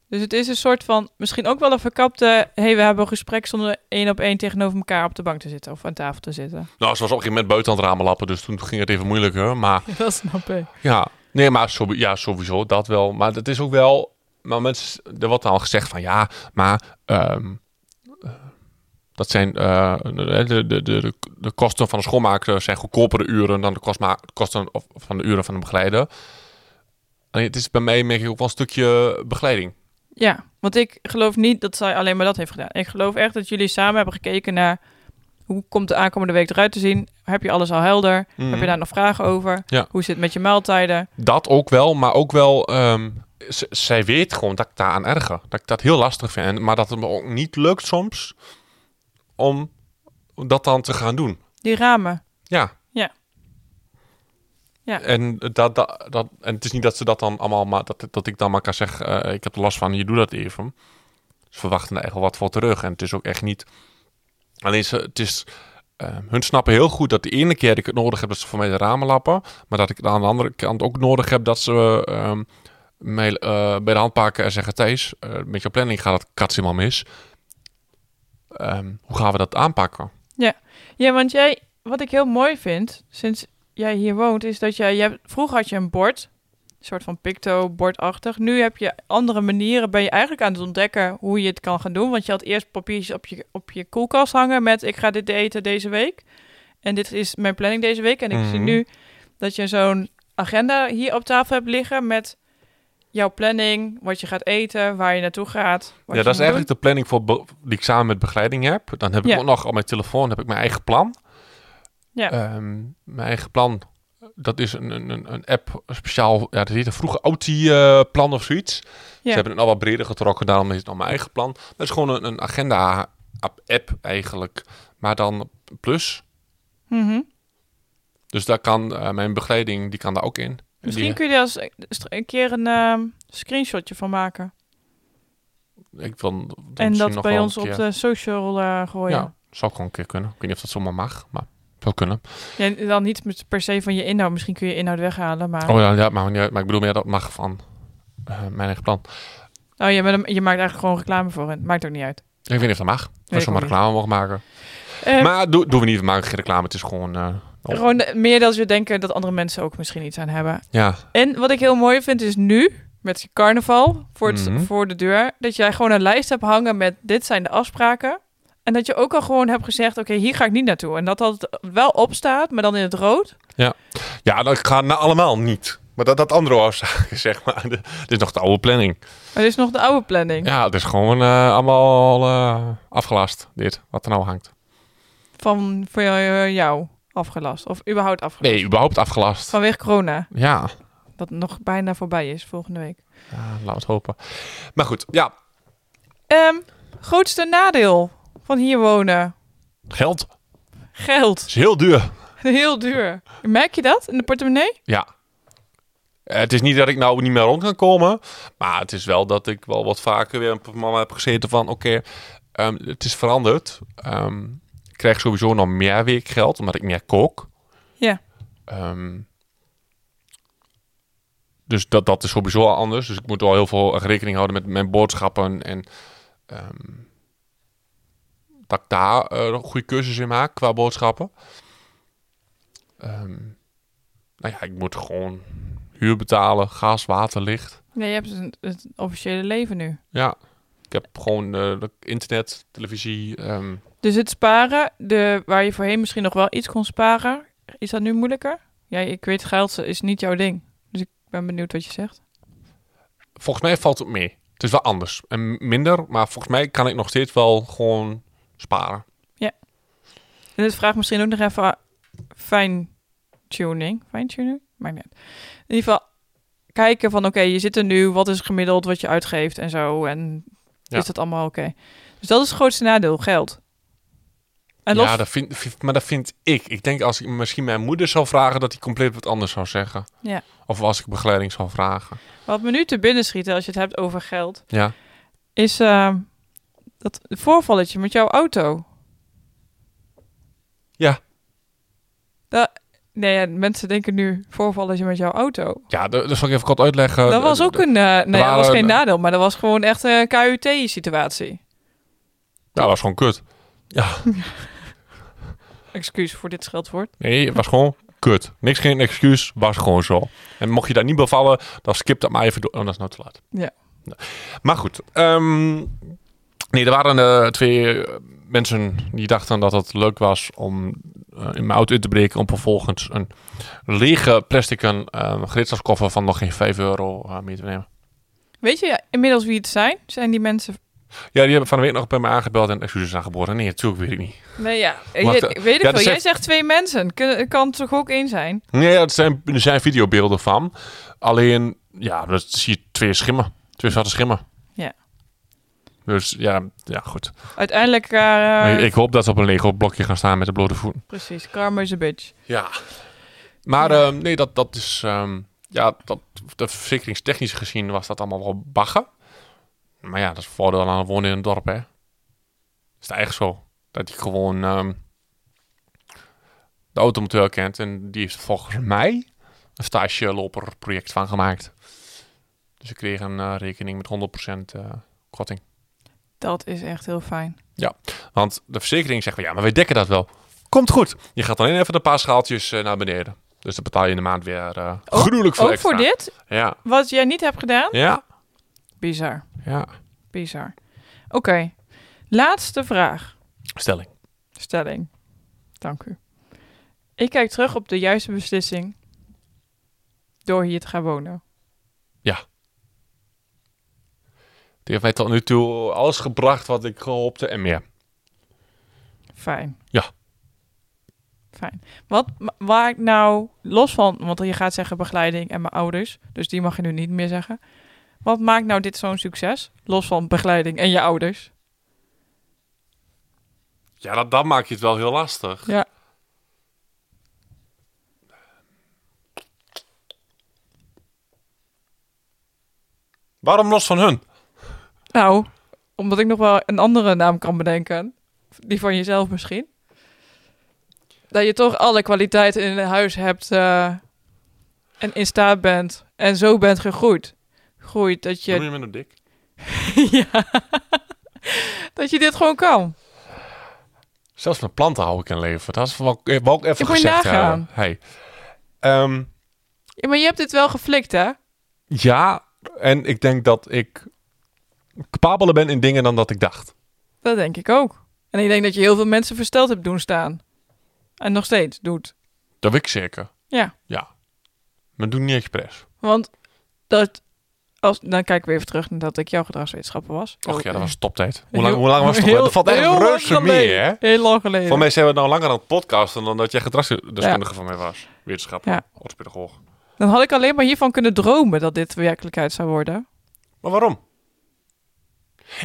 [SPEAKER 4] Dus het is een soort van, misschien ook wel een verkapte... hé, hey, we hebben een gesprek zonder één op één tegenover elkaar op de bank te zitten. Of aan tafel te zitten.
[SPEAKER 3] Nou, ze was op een gegeven moment buiten aan het ramen lappen, dus toen ging het even moeilijker. Maar
[SPEAKER 4] dat snap ik.
[SPEAKER 3] ja, nee, maar sobi- ja, sowieso, dat wel. Maar het is ook wel, maar mensen, er wordt al gezegd van ja, maar ehm, eh, dat zijn eh, de, de, de, de, de kosten van de schoonmaker zijn goedkopere uren dan de kostma- kosten of- van de uren van de begeleider. Alleen het is bij mij merk ik ook wel een stukje begeleiding.
[SPEAKER 4] Ja, want ik geloof niet dat zij alleen maar dat heeft gedaan. Ik geloof echt dat jullie samen hebben gekeken naar... hoe komt de aankomende week eruit te zien? Heb je alles al helder? Heb je daar nog vragen over?
[SPEAKER 3] Ja.
[SPEAKER 4] Hoe zit het met je maaltijden?
[SPEAKER 3] Dat ook wel, maar ook wel. ehm, z- zij weet gewoon dat ik daar aan erger. Dat ik dat heel lastig vind. en- Maar dat het me ook niet lukt soms om dat dan te gaan doen.
[SPEAKER 4] Die ramen.
[SPEAKER 3] Ja.
[SPEAKER 4] Ja. Ja.
[SPEAKER 3] En, dat, dat, dat, en het is niet dat ze dat dan allemaal, maar dat, dat ik dan maar kan zeggen: eh, ik heb er last van, je doet dat even. Ze verwachten daar echt wel wat voor terug. En het is ook echt niet. Alleen ze, het is. eh, hun snappen heel goed dat de ene keer dat ik het nodig heb dat ze voor mij de ramen lappen. Maar dat ik het aan de andere kant ook nodig heb dat ze ehm, mij eh, bij de hand pakken en zeggen: Thijs, eh, met jouw planning gaat het kats helemaal mis. Ehm, hoe gaan we dat aanpakken?
[SPEAKER 4] Ja, want jij, wat ik heel mooi vind sinds jij hier woont, is dat jij, jij hebt- vroeger had je een bord. soort van picto-bordachtig. Nu heb je andere manieren, ben je eigenlijk aan het ontdekken hoe je het kan gaan doen. Want je had eerst papiertjes op je, op je koelkast hangen met ik ga dit eten deze week. En dit is mijn planning deze week. En ik zie
[SPEAKER 3] Mhm.
[SPEAKER 4] nu dat je zo'n agenda hier op tafel hebt liggen met jouw planning, wat je gaat eten, waar je naartoe gaat. wat je
[SPEAKER 3] Ja, dat is
[SPEAKER 4] moet doen.
[SPEAKER 3] eigenlijk de planning voor be- die ik samen met begeleiding heb. Dan heb
[SPEAKER 4] Ja.
[SPEAKER 3] ik ook nog op mijn telefoon heb ik mijn eigen plan.
[SPEAKER 4] Ja.
[SPEAKER 3] Ehm, mijn eigen plan, dat is een, een- een, een app een speciaal. Ja, dat heet een vroege OT-plan of zoiets. Ze hebben het al wat breder getrokken, daarom is het nog mijn eigen plan. Dat is gewoon een, een agenda-app eigenlijk, maar dan plus.
[SPEAKER 4] Mhm.
[SPEAKER 3] Dus daar kan eh, mijn begeleiding, die kan daar ook in. En
[SPEAKER 4] Misschien
[SPEAKER 3] die-
[SPEAKER 4] kun je daar eens st- een keer een ehm, screenshotje van maken.
[SPEAKER 3] ik wil dat
[SPEAKER 4] en
[SPEAKER 3] misschien
[SPEAKER 4] dat
[SPEAKER 3] nog
[SPEAKER 4] bij
[SPEAKER 3] wel een
[SPEAKER 4] ons op
[SPEAKER 3] keer-
[SPEAKER 4] de social eh, gooien.
[SPEAKER 3] Ja, zou gewoon een keer kunnen. Ik weet niet of dat zomaar mag, maar zou kunnen.
[SPEAKER 4] Ja, dan niet met- per se van je inhoud. Misschien kun je inhoud weghalen, maar...
[SPEAKER 3] Oh ja, ja maar, niet uit. maar ik bedoel meer dat mag van eh, mijn eigen plan.
[SPEAKER 4] Oh, je, bent hem- je maakt eigenlijk gewoon reclame voor hen. Maakt ook niet uit.
[SPEAKER 3] Ik weet niet of dat mag.
[SPEAKER 4] ik
[SPEAKER 3] Dat ze maar
[SPEAKER 4] ook
[SPEAKER 3] reclame mogen maken.
[SPEAKER 4] Eh,
[SPEAKER 3] maar doe- doen we niet, we maken geen reclame. Het is gewoon... eh, oh,
[SPEAKER 4] Gewoon de- meer dat we denken dat andere mensen ook misschien iets aan hebben.
[SPEAKER 3] Ja,
[SPEAKER 4] En wat ik heel mooi vind is nu, met je carnaval voor, het,
[SPEAKER 3] Mhm.
[SPEAKER 4] voor de deur, dat jij gewoon een lijst hebt hangen met dit zijn de afspraken. En dat je ook al gewoon hebt gezegd, oké, hier ga ik niet naartoe. En dat dat wel opstaat, maar dan in het rood.
[SPEAKER 3] ja dat gaan nou allemaal niet. Maar dat, dat andere afspraken, zeg maar. De- Dit is nog de oude planning.
[SPEAKER 4] Maar dit is nog de oude planning.
[SPEAKER 3] Ja, het is gewoon eh, allemaal eh, afgelast, dit. Wat er nou hangt.
[SPEAKER 4] Van voor jou, jou afgelast. Of überhaupt afgelast.
[SPEAKER 3] Nee, überhaupt afgelast.
[SPEAKER 4] Vanwege corona.
[SPEAKER 3] Ja,
[SPEAKER 4] Dat nog bijna voorbij is volgende week.
[SPEAKER 3] ja laten we het hopen. Maar goed, ja.
[SPEAKER 4] Ehm, grootste nadeel van hier wonen.
[SPEAKER 3] Geld
[SPEAKER 4] Geld.
[SPEAKER 3] is heel duur.
[SPEAKER 4] Heel duur. Merk je dat in de portemonnee?
[SPEAKER 3] Ja. Eh, Het is niet dat ik nou niet meer rond kan komen. Maar het is wel dat ik wel wat vaker weer op mama heb gezeten van... Oké, ehm, het is veranderd. Ehm, ik krijg sowieso nog meer weekgeld, omdat ik meer kook.
[SPEAKER 4] Ja.
[SPEAKER 3] Ehm, dus dat, dat is sowieso al anders. Dus ik moet wel heel veel rekening houden met mijn boodschappen. En ehm, dat ik daar eh, een goede cursus in maak qua boodschappen. Ehm, nou ja, ik moet gewoon huur betalen, gas, water, licht.
[SPEAKER 4] Nee, je hebt dus een- het officiële leven nu.
[SPEAKER 3] Ja, ik heb gewoon eh, de- internet, televisie. ehm,
[SPEAKER 4] Dus het sparen, de, waar je voorheen misschien nog wel iets kon sparen, is dat nu moeilijker? Ja, ik weet, geld is niet jouw ding. Dus ik ben benieuwd wat je zegt.
[SPEAKER 3] volgens mij valt het mee. Het is wel anders en minder, maar volgens mij kan ik nog steeds wel gewoon sparen.
[SPEAKER 4] En dit vraagt misschien ook nog even fine-tuning. Fine-tuning? Maakt niet uit. In ieder geval kijken van, oké, je zit er nu. Wat is gemiddeld wat je uitgeeft en zo. En
[SPEAKER 3] Ja.
[SPEAKER 4] is dat allemaal oké? Dus dat is het grootste nadeel, geld. En los,
[SPEAKER 3] Ja, dat vind, vind- maar dat vind ik. Ik denk als ik misschien mijn moeder zou vragen, dat hij compleet wat anders zou zeggen.
[SPEAKER 4] Ja.
[SPEAKER 3] Of als ik begeleiding zou vragen.
[SPEAKER 4] wat me nu te binnen schiet als je het hebt over geld...
[SPEAKER 3] Ja.
[SPEAKER 4] is eh, dat voorvalletje met jouw auto.
[SPEAKER 3] Ja.
[SPEAKER 4] Da- nee, ja, mensen denken nu voorvalletje met jouw auto.
[SPEAKER 3] Ja, dat, Oh, dat zal ik even kort uitleggen.
[SPEAKER 4] dat was ook een, eh, nee, dat
[SPEAKER 3] waren
[SPEAKER 4] was geen
[SPEAKER 3] een-
[SPEAKER 4] nadeel, maar dat was gewoon echt een KUT-situatie.
[SPEAKER 3] Ja, dat was gewoon kut.
[SPEAKER 4] Excuus voor dit scheldwoord.
[SPEAKER 3] Nee, het was gewoon kut. Niks geen excuus, was gewoon zo. En mocht je daar niet bevallen, dan skip dat maar even door. Oh, dat is nou te laat.
[SPEAKER 4] Ja.
[SPEAKER 3] Maar goed. ehm, nee, er waren eh, twee eh, mensen die dachten dat het leuk was om eh, in mijn auto in te breken. Om vervolgens een lege plastic eh gereedschapskoffer van nog geen 5 euro eh, mee te nemen.
[SPEAKER 4] Weet je inmiddels wie het zijn? Zijn die mensen...
[SPEAKER 3] Ja, die hebben van de week nog bij me aangebeld en excuses aangeboden. Nee, natuurlijk weet ik niet.
[SPEAKER 4] Nee, ja.
[SPEAKER 3] Wacht,
[SPEAKER 4] je- ik weet het
[SPEAKER 3] ja, dus
[SPEAKER 4] wel.
[SPEAKER 3] dat
[SPEAKER 4] Jij
[SPEAKER 3] zegt-
[SPEAKER 4] zegt twee mensen. Kun- Het kan toch ook één zijn?
[SPEAKER 3] Nee, ja, het zijn, er zijn videobeelden van. Alleen, ja, dat zie je twee schimmen. Twee zwarte schimmen.
[SPEAKER 4] Ja.
[SPEAKER 3] Dus ja, ja goed.
[SPEAKER 4] Uiteindelijk... eh,
[SPEAKER 3] ik, ik hoop dat ze op een Lego blokje gaan staan met de blote voeten.
[SPEAKER 4] Precies. Karma is a bitch.
[SPEAKER 3] Ja. Maar
[SPEAKER 4] Ja.
[SPEAKER 3] ehm, nee, dat, dat is... ehm, ja, dat, de verzekeringstechnisch gezien was dat allemaal wel baggen. Maar ja, dat is het voordeel aan wonen in een dorp, hè. Is het echt zo. Dat hij gewoon ehm, de automoteur kent. En die heeft volgens mij een stageloper project van gemaakt. Dus ik kreeg een eh, rekening met 100% eh korting.
[SPEAKER 4] Dat is echt heel fijn.
[SPEAKER 3] Want de verzekering zegt van ja, maar wij dekken dat wel. Komt goed. Je gaat alleen even een paar schaaltjes eh, naar beneden. Dus dan betaal je in de maand weer eh
[SPEAKER 4] Ook-
[SPEAKER 3] gruwelijk veel
[SPEAKER 4] Ook
[SPEAKER 3] extra.
[SPEAKER 4] Oh, voor dit,
[SPEAKER 3] Ja,
[SPEAKER 4] wat jij niet hebt gedaan?
[SPEAKER 3] ja,
[SPEAKER 4] Bizar,
[SPEAKER 3] ja.
[SPEAKER 4] bizar. Oké, laatste vraag,
[SPEAKER 3] Stelling.
[SPEAKER 4] stelling. Dank u. Ik kijk terug op de juiste beslissing door hier te gaan wonen.
[SPEAKER 3] Die heeft mij tot nu toe alles gebracht wat ik hoopte en meer.
[SPEAKER 4] Fijn.
[SPEAKER 3] Ja.
[SPEAKER 4] Fijn. Wat ma- waar ik nou los van, want je gaat zeggen begeleiding en mijn ouders, dus die mag je nu niet meer zeggen. Wat maakt nou dit zo'n succes? Los van begeleiding en je ouders.
[SPEAKER 3] Ja, dat, dat maak je het wel heel lastig.
[SPEAKER 4] Ja.
[SPEAKER 3] Waarom los van hun?
[SPEAKER 4] Nou, omdat ik nog wel een andere naam kan bedenken. Die van jezelf misschien. Dat je toch alle kwaliteiten in huis hebt eh, en in staat bent en zo bent gegroeid. Groeit dat
[SPEAKER 3] Noem
[SPEAKER 4] je,
[SPEAKER 3] je me nou dik?
[SPEAKER 4] ja, dat je dit gewoon kan.
[SPEAKER 3] Zelfs met planten hou ik in leven. Dat is wat ik, wat ik even
[SPEAKER 4] Ik moet je
[SPEAKER 3] gezegd
[SPEAKER 4] nagaan.
[SPEAKER 3] hebben. Hey. Ehm,
[SPEAKER 4] Ja, maar je hebt dit wel geflikt, hè?
[SPEAKER 3] ja, en ik denk dat ik capabeler ben in dingen dan dat ik dacht.
[SPEAKER 4] Dat denk ik ook. En ik denk dat je heel veel mensen versteld hebt doen staan. En nog steeds doet.
[SPEAKER 3] Dat weet ik zeker.
[SPEAKER 4] Ja.
[SPEAKER 3] Ja. Maar doe niet expres.
[SPEAKER 4] Want dat, als, dan kijk ik weer even terug naar dat ik jouw gedragswetenschapper was.
[SPEAKER 3] Och ja, dat was toptijd.
[SPEAKER 4] Oh,
[SPEAKER 3] Hoe
[SPEAKER 4] eh, Heel-
[SPEAKER 3] lang, hoe lang was het? toch?
[SPEAKER 4] heel-
[SPEAKER 3] Dat valt echt
[SPEAKER 4] heel lang
[SPEAKER 3] reuze mee,
[SPEAKER 4] geleden.
[SPEAKER 3] hè?
[SPEAKER 4] Heel lang geleden.
[SPEAKER 3] Voor mij zijn we nou langer aan het podcasten dan dat jij gedragsdeskundige van mij was. Wetenschapper,
[SPEAKER 4] Ja.
[SPEAKER 3] orthopedagoog.
[SPEAKER 4] Dan had ik alleen maar hiervan kunnen dromen dat dit werkelijkheid zou worden.
[SPEAKER 3] Maar waarom?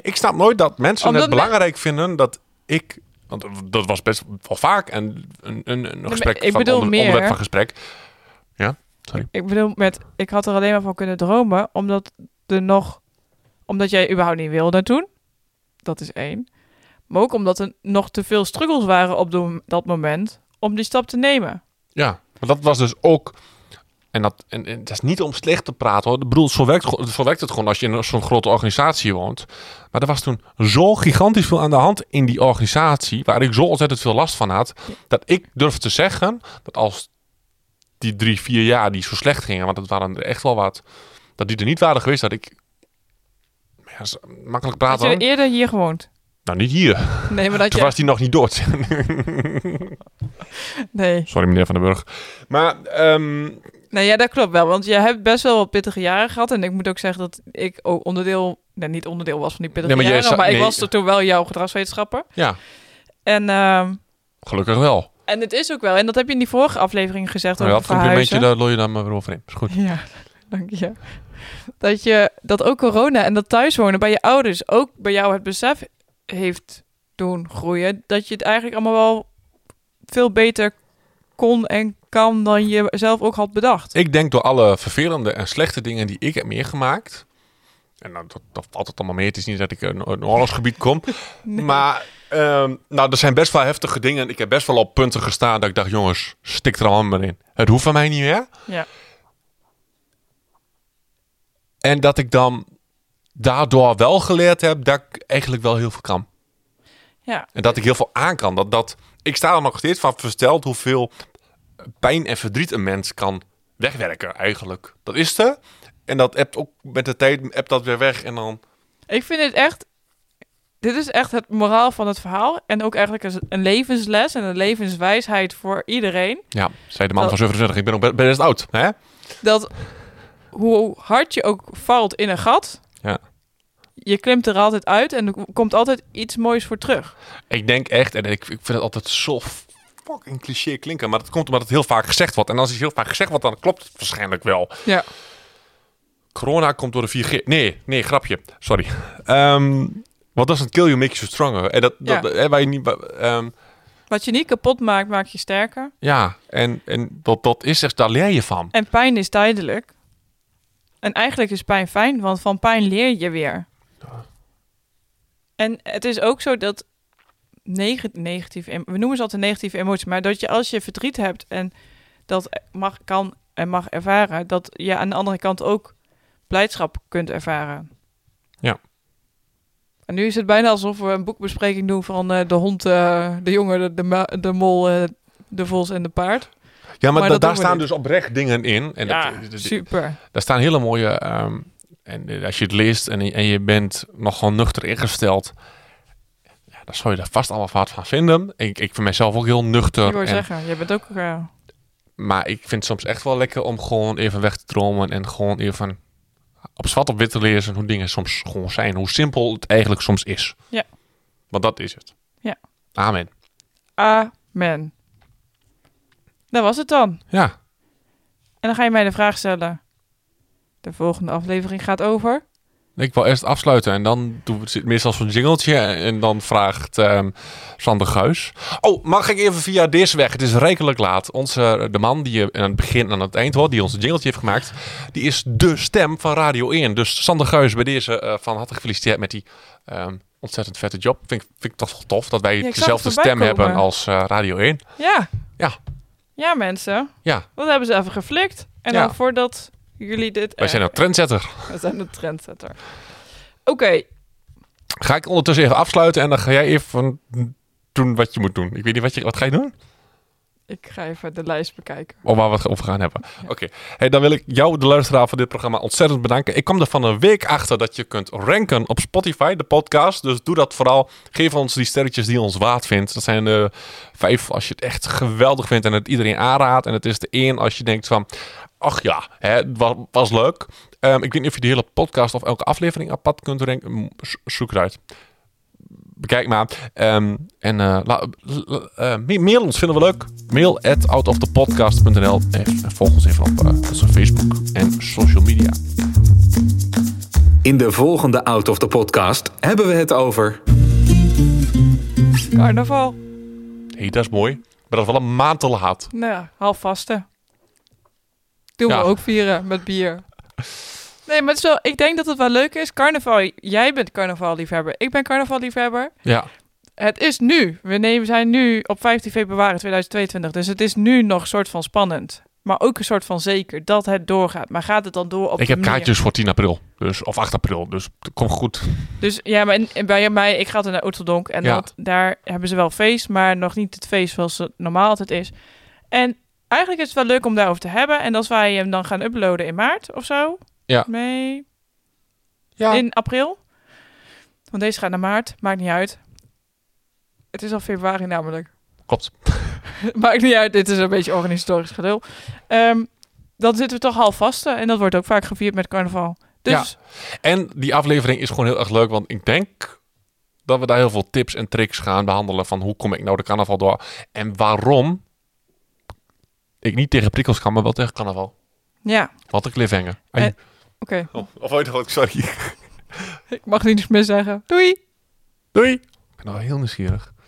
[SPEAKER 3] Ik snap nooit dat mensen
[SPEAKER 4] Omdat
[SPEAKER 3] het
[SPEAKER 4] me-
[SPEAKER 3] belangrijk vinden dat ik... Want dat was best wel vaak en een, een, een gesprek
[SPEAKER 4] ik
[SPEAKER 3] van
[SPEAKER 4] bedoel
[SPEAKER 3] onder-
[SPEAKER 4] meer.
[SPEAKER 3] onderwerp van gesprek.
[SPEAKER 4] Ik bedoel, met, ik had er alleen maar van kunnen dromen, omdat er nog, omdat jij überhaupt niet wilde toen. Dat is één. Maar ook omdat er nog te veel struggles waren op de- dat moment om die stap te nemen.
[SPEAKER 3] Ja, maar dat was dus ook. En dat, en, en dat is niet om slecht te praten hoor. Ik bedoel, zo werkt, het- zo werkt het gewoon als je in zo'n grote organisatie woont. Maar er was toen zo gigantisch veel aan de hand in die organisatie. Waar ik zo ontzettend veel last van had. Dat ik durf te zeggen dat als die drie, vier jaar die zo slecht gingen. Want het waren er echt wel wat. Dat die er niet waren geweest. Dat ik. Ja, dat is makkelijk
[SPEAKER 4] Had je
[SPEAKER 3] praten.
[SPEAKER 4] er eerder hier gewoond?
[SPEAKER 3] Nou, niet hier.
[SPEAKER 4] Nee, maar dat
[SPEAKER 3] Toen
[SPEAKER 4] je...
[SPEAKER 3] was die nog niet dood.
[SPEAKER 4] Nee.
[SPEAKER 3] Sorry, meneer Van den Burg. Maar ehm,
[SPEAKER 4] Nou ja, dat klopt wel. Want je hebt best wel wat pittige jaren gehad. En ik moet ook zeggen dat ik ook onderdeel... Nou, niet onderdeel was van die pittige
[SPEAKER 3] Nee, maar jij
[SPEAKER 4] jaren.
[SPEAKER 3] zou-
[SPEAKER 4] maar ik
[SPEAKER 3] nee.
[SPEAKER 4] was er toen wel jouw gedragswetenschapper.
[SPEAKER 3] ja,
[SPEAKER 4] En, ehm,
[SPEAKER 3] gelukkig wel.
[SPEAKER 4] en het is ook wel... En dat heb je in die vorige aflevering gezegd
[SPEAKER 3] Nou,
[SPEAKER 4] over
[SPEAKER 3] dat complimentje,
[SPEAKER 4] verhuizen.
[SPEAKER 3] daar looi je dan maar weer over in. Is goed.
[SPEAKER 4] Ja, dank je. Dat je dat ook corona en dat thuiswonen bij je ouders... ook bij jou het besef heeft doen groeien... dat je het eigenlijk allemaal wel veel beter kon en kan... dan je zelf ook had bedacht.
[SPEAKER 3] Ik denk door alle vervelende en slechte dingen die ik heb meegemaakt. En nou, dat, dat valt het allemaal mee. Het is niet dat ik een, een oorlogsgebied kom. Maar ehm, nou, er zijn best wel heftige dingen. Ik heb best wel op punten gestaan dat ik dacht, jongens, stik er allemaal maar in. Het hoeft van mij niet meer.
[SPEAKER 4] Ja.
[SPEAKER 3] En dat ik dan daardoor wel geleerd heb dat ik eigenlijk wel heel veel kan.
[SPEAKER 4] Ja.
[SPEAKER 3] En dat ik heel veel aan kan. Dat, dat, ik sta er nog steeds van versteld hoeveel pijn en verdriet een mens kan wegwerken eigenlijk. Dat is er. En dat hebt ook met de tijd hebt dat weer weg. En dan,
[SPEAKER 4] Ik vind het echt. Dit is echt het moraal van het verhaal. En ook eigenlijk een- een levensles en een levenswijsheid voor iedereen.
[SPEAKER 3] ja, zei de man
[SPEAKER 4] Oh.
[SPEAKER 3] van 27, ik ben ook be- best oud. Hè?
[SPEAKER 4] Dat hoe hard je ook valt in een gat.
[SPEAKER 3] Ja.
[SPEAKER 4] Je klimt er altijd uit en er komt altijd iets moois voor terug.
[SPEAKER 3] Ik denk echt, en ik, ik vind het altijd zo fucking cliché klinken, maar dat komt omdat het heel vaak gezegd wordt. En als iets heel vaak gezegd wordt, dan klopt het waarschijnlijk wel.
[SPEAKER 4] Ja.
[SPEAKER 3] Corona komt door de 4G. Nee, nee, grapje. Sorry. Ehm wat doesn't kill you makes you stronger. En dat,
[SPEAKER 4] Ja.
[SPEAKER 3] dat hè, waar je niet... wa- ehm,
[SPEAKER 4] Wat je niet kapot maakt, maakt je sterker.
[SPEAKER 3] Ja, en, en dat, dat is echt, daar leer je van.
[SPEAKER 4] En pijn is tijdelijk. En eigenlijk is pijn fijn, want van pijn leer je weer. En het is ook zo dat neg negatieve, em- we noemen ze altijd negatieve emoties, maar dat je als je verdriet hebt en dat mag, kan en mag ervaren, dat je aan de andere kant ook blijdschap kunt ervaren.
[SPEAKER 3] Ja.
[SPEAKER 4] En nu is het bijna alsof we een boekbespreking doen van eh, de hond, eh, de jongen, de, de, ma- de mol, eh, de vos en de paard.
[SPEAKER 3] Ja, maar,
[SPEAKER 4] Maar
[SPEAKER 3] da-
[SPEAKER 4] dat
[SPEAKER 3] daar
[SPEAKER 4] doen we
[SPEAKER 3] staan
[SPEAKER 4] niet.
[SPEAKER 3] dus oprecht dingen in. En
[SPEAKER 4] ja,
[SPEAKER 3] dat, dat-
[SPEAKER 4] super.
[SPEAKER 3] daar staan hele mooie... ehm, en eh, als je het leest en, je- en je bent nogal nuchter ingesteld... Ja, dan zou je daar vast allemaal wat van vinden. Ik, ik vind mezelf ook heel
[SPEAKER 4] Ik
[SPEAKER 3] nuchter.
[SPEAKER 4] wil
[SPEAKER 3] en-
[SPEAKER 4] zeggen, je bent ook... eh,
[SPEAKER 3] maar ik vind het soms echt wel lekker om gewoon even weg te dromen. En gewoon even op zwart op wit te lezen hoe dingen soms gewoon zijn. Hoe simpel het eigenlijk soms is.
[SPEAKER 4] Ja.
[SPEAKER 3] Want dat is het.
[SPEAKER 4] Ja.
[SPEAKER 3] Amen.
[SPEAKER 4] amen. Dat was het dan.
[SPEAKER 3] Ja.
[SPEAKER 4] En dan ga je mij de vraag stellen. De volgende aflevering gaat over.
[SPEAKER 3] Ik wil eerst afsluiten en dan doen we het meestal zo'n jingeltje. En dan vraagt ehm Sander Guis. Oh, mag ik even via deze weg? Het is rijkelijk laat. Onze, de man die je aan het begin en aan het eind hoort, die ons jingeltje heeft gemaakt, die is de stem van Radio 1. Dus Sander Guis, bij deze eh, van harte gefeliciteerd met die ehm, ontzettend vette job. Vind, ik- vind ik toch wel tof dat wij
[SPEAKER 4] ik zag
[SPEAKER 3] dezelfde
[SPEAKER 4] het voorbij
[SPEAKER 3] stem hebben
[SPEAKER 4] komen.
[SPEAKER 3] als eh, Radio 1.
[SPEAKER 4] Ja.
[SPEAKER 3] Ja.
[SPEAKER 4] Ja, mensen.
[SPEAKER 3] Ja.
[SPEAKER 4] Dat hebben ze even geflikt. En
[SPEAKER 3] Ja.
[SPEAKER 4] dan voordat jullie dit...
[SPEAKER 3] Wij zijn een trendsetter.
[SPEAKER 4] We zijn een trendsetter. Oké.
[SPEAKER 3] Ga ik ondertussen even afsluiten en dan ga jij even doen wat je moet doen. Ik weet niet, wat, je, wat ga je doen?
[SPEAKER 4] Ik ga even de lijst bekijken.
[SPEAKER 3] Oh, waar we het over gaan hebben. Oké. Hey, dan wil ik jou, de luisteraar van dit programma, ontzettend bedanken. Ik kwam er van een week achter dat je kunt ranken op Spotify, de podcast. Dus doe dat vooral. Geef ons die sterretjes die je ons waard vindt. Dat zijn eh vijf als je het echt geweldig vindt en het iedereen aanraadt. En het is de één als je denkt van... Ach ja, hè, het was, was leuk. Ehm, ik weet niet of je de hele podcast of elke aflevering apart kunt ranken. Mm, zo- Zoek het uit. Bekijk maar. Ehm, en eh, la- la- eh, ma- mail ons, vinden we leuk. Mail at outofthepodcast.nl en volg ons even op eh, onze Facebook en social media.
[SPEAKER 2] In de volgende Out of the Podcast hebben we het over.
[SPEAKER 4] Carnaval.
[SPEAKER 3] hey, dat is mooi. Maar dat is wel een maand te laat.
[SPEAKER 4] Nou ja, halfvaste. Doen
[SPEAKER 3] Ja.
[SPEAKER 4] we ook vieren met bier. Nee, maar het is wel, ik denk dat het wel leuk is. Carnaval, jij bent carnavalliefhebber. Ik ben carnavalliefhebber.
[SPEAKER 3] Ja.
[SPEAKER 4] Het is nu. We nemen, zijn nu op 15 februari 2022. Dus het is nu nog soort van spannend. Maar ook een soort van zeker dat het doorgaat. Maar gaat het dan door op
[SPEAKER 3] ik
[SPEAKER 4] de
[SPEAKER 3] heb
[SPEAKER 4] manier?
[SPEAKER 3] kaartjes voor 10 april. Dus, of 8 april. Dus kom goed.
[SPEAKER 4] Dus ja, maar in- in- bij mij, ik ga altijd naar Oeteldonk. En
[SPEAKER 3] Ja.
[SPEAKER 4] dat, daar hebben ze wel feest, maar nog niet het feest zoals het normaal altijd is. En eigenlijk is het wel leuk om daarover te hebben. En als wij hem dan gaan uploaden in maart of zo.
[SPEAKER 3] Ja.
[SPEAKER 4] Nee,
[SPEAKER 3] Ja.
[SPEAKER 4] in april. Want deze gaat naar maart, maakt niet uit. Het is al februari namelijk.
[SPEAKER 3] Klopt.
[SPEAKER 4] Maakt niet uit, dit is een beetje organisatorisch gedul. Ehm, dan zitten we toch half vast. eh, En dat wordt ook vaak gevierd met carnaval. Dus
[SPEAKER 3] En die aflevering is gewoon heel erg leuk. Want ik denk dat we daar heel veel tips en tricks gaan behandelen. Van hoe kom ik nou de carnaval door? En waarom ik niet tegen prikkels kan, maar wel tegen carnaval.
[SPEAKER 4] ja,
[SPEAKER 3] Wat een cliffhanger. Ai.
[SPEAKER 4] Eh, oké.
[SPEAKER 3] Oh, of ooit nog, sorry.
[SPEAKER 4] Ik mag niets meer zeggen. Doei!
[SPEAKER 3] Doei. Ik ben al heel nieuwsgierig.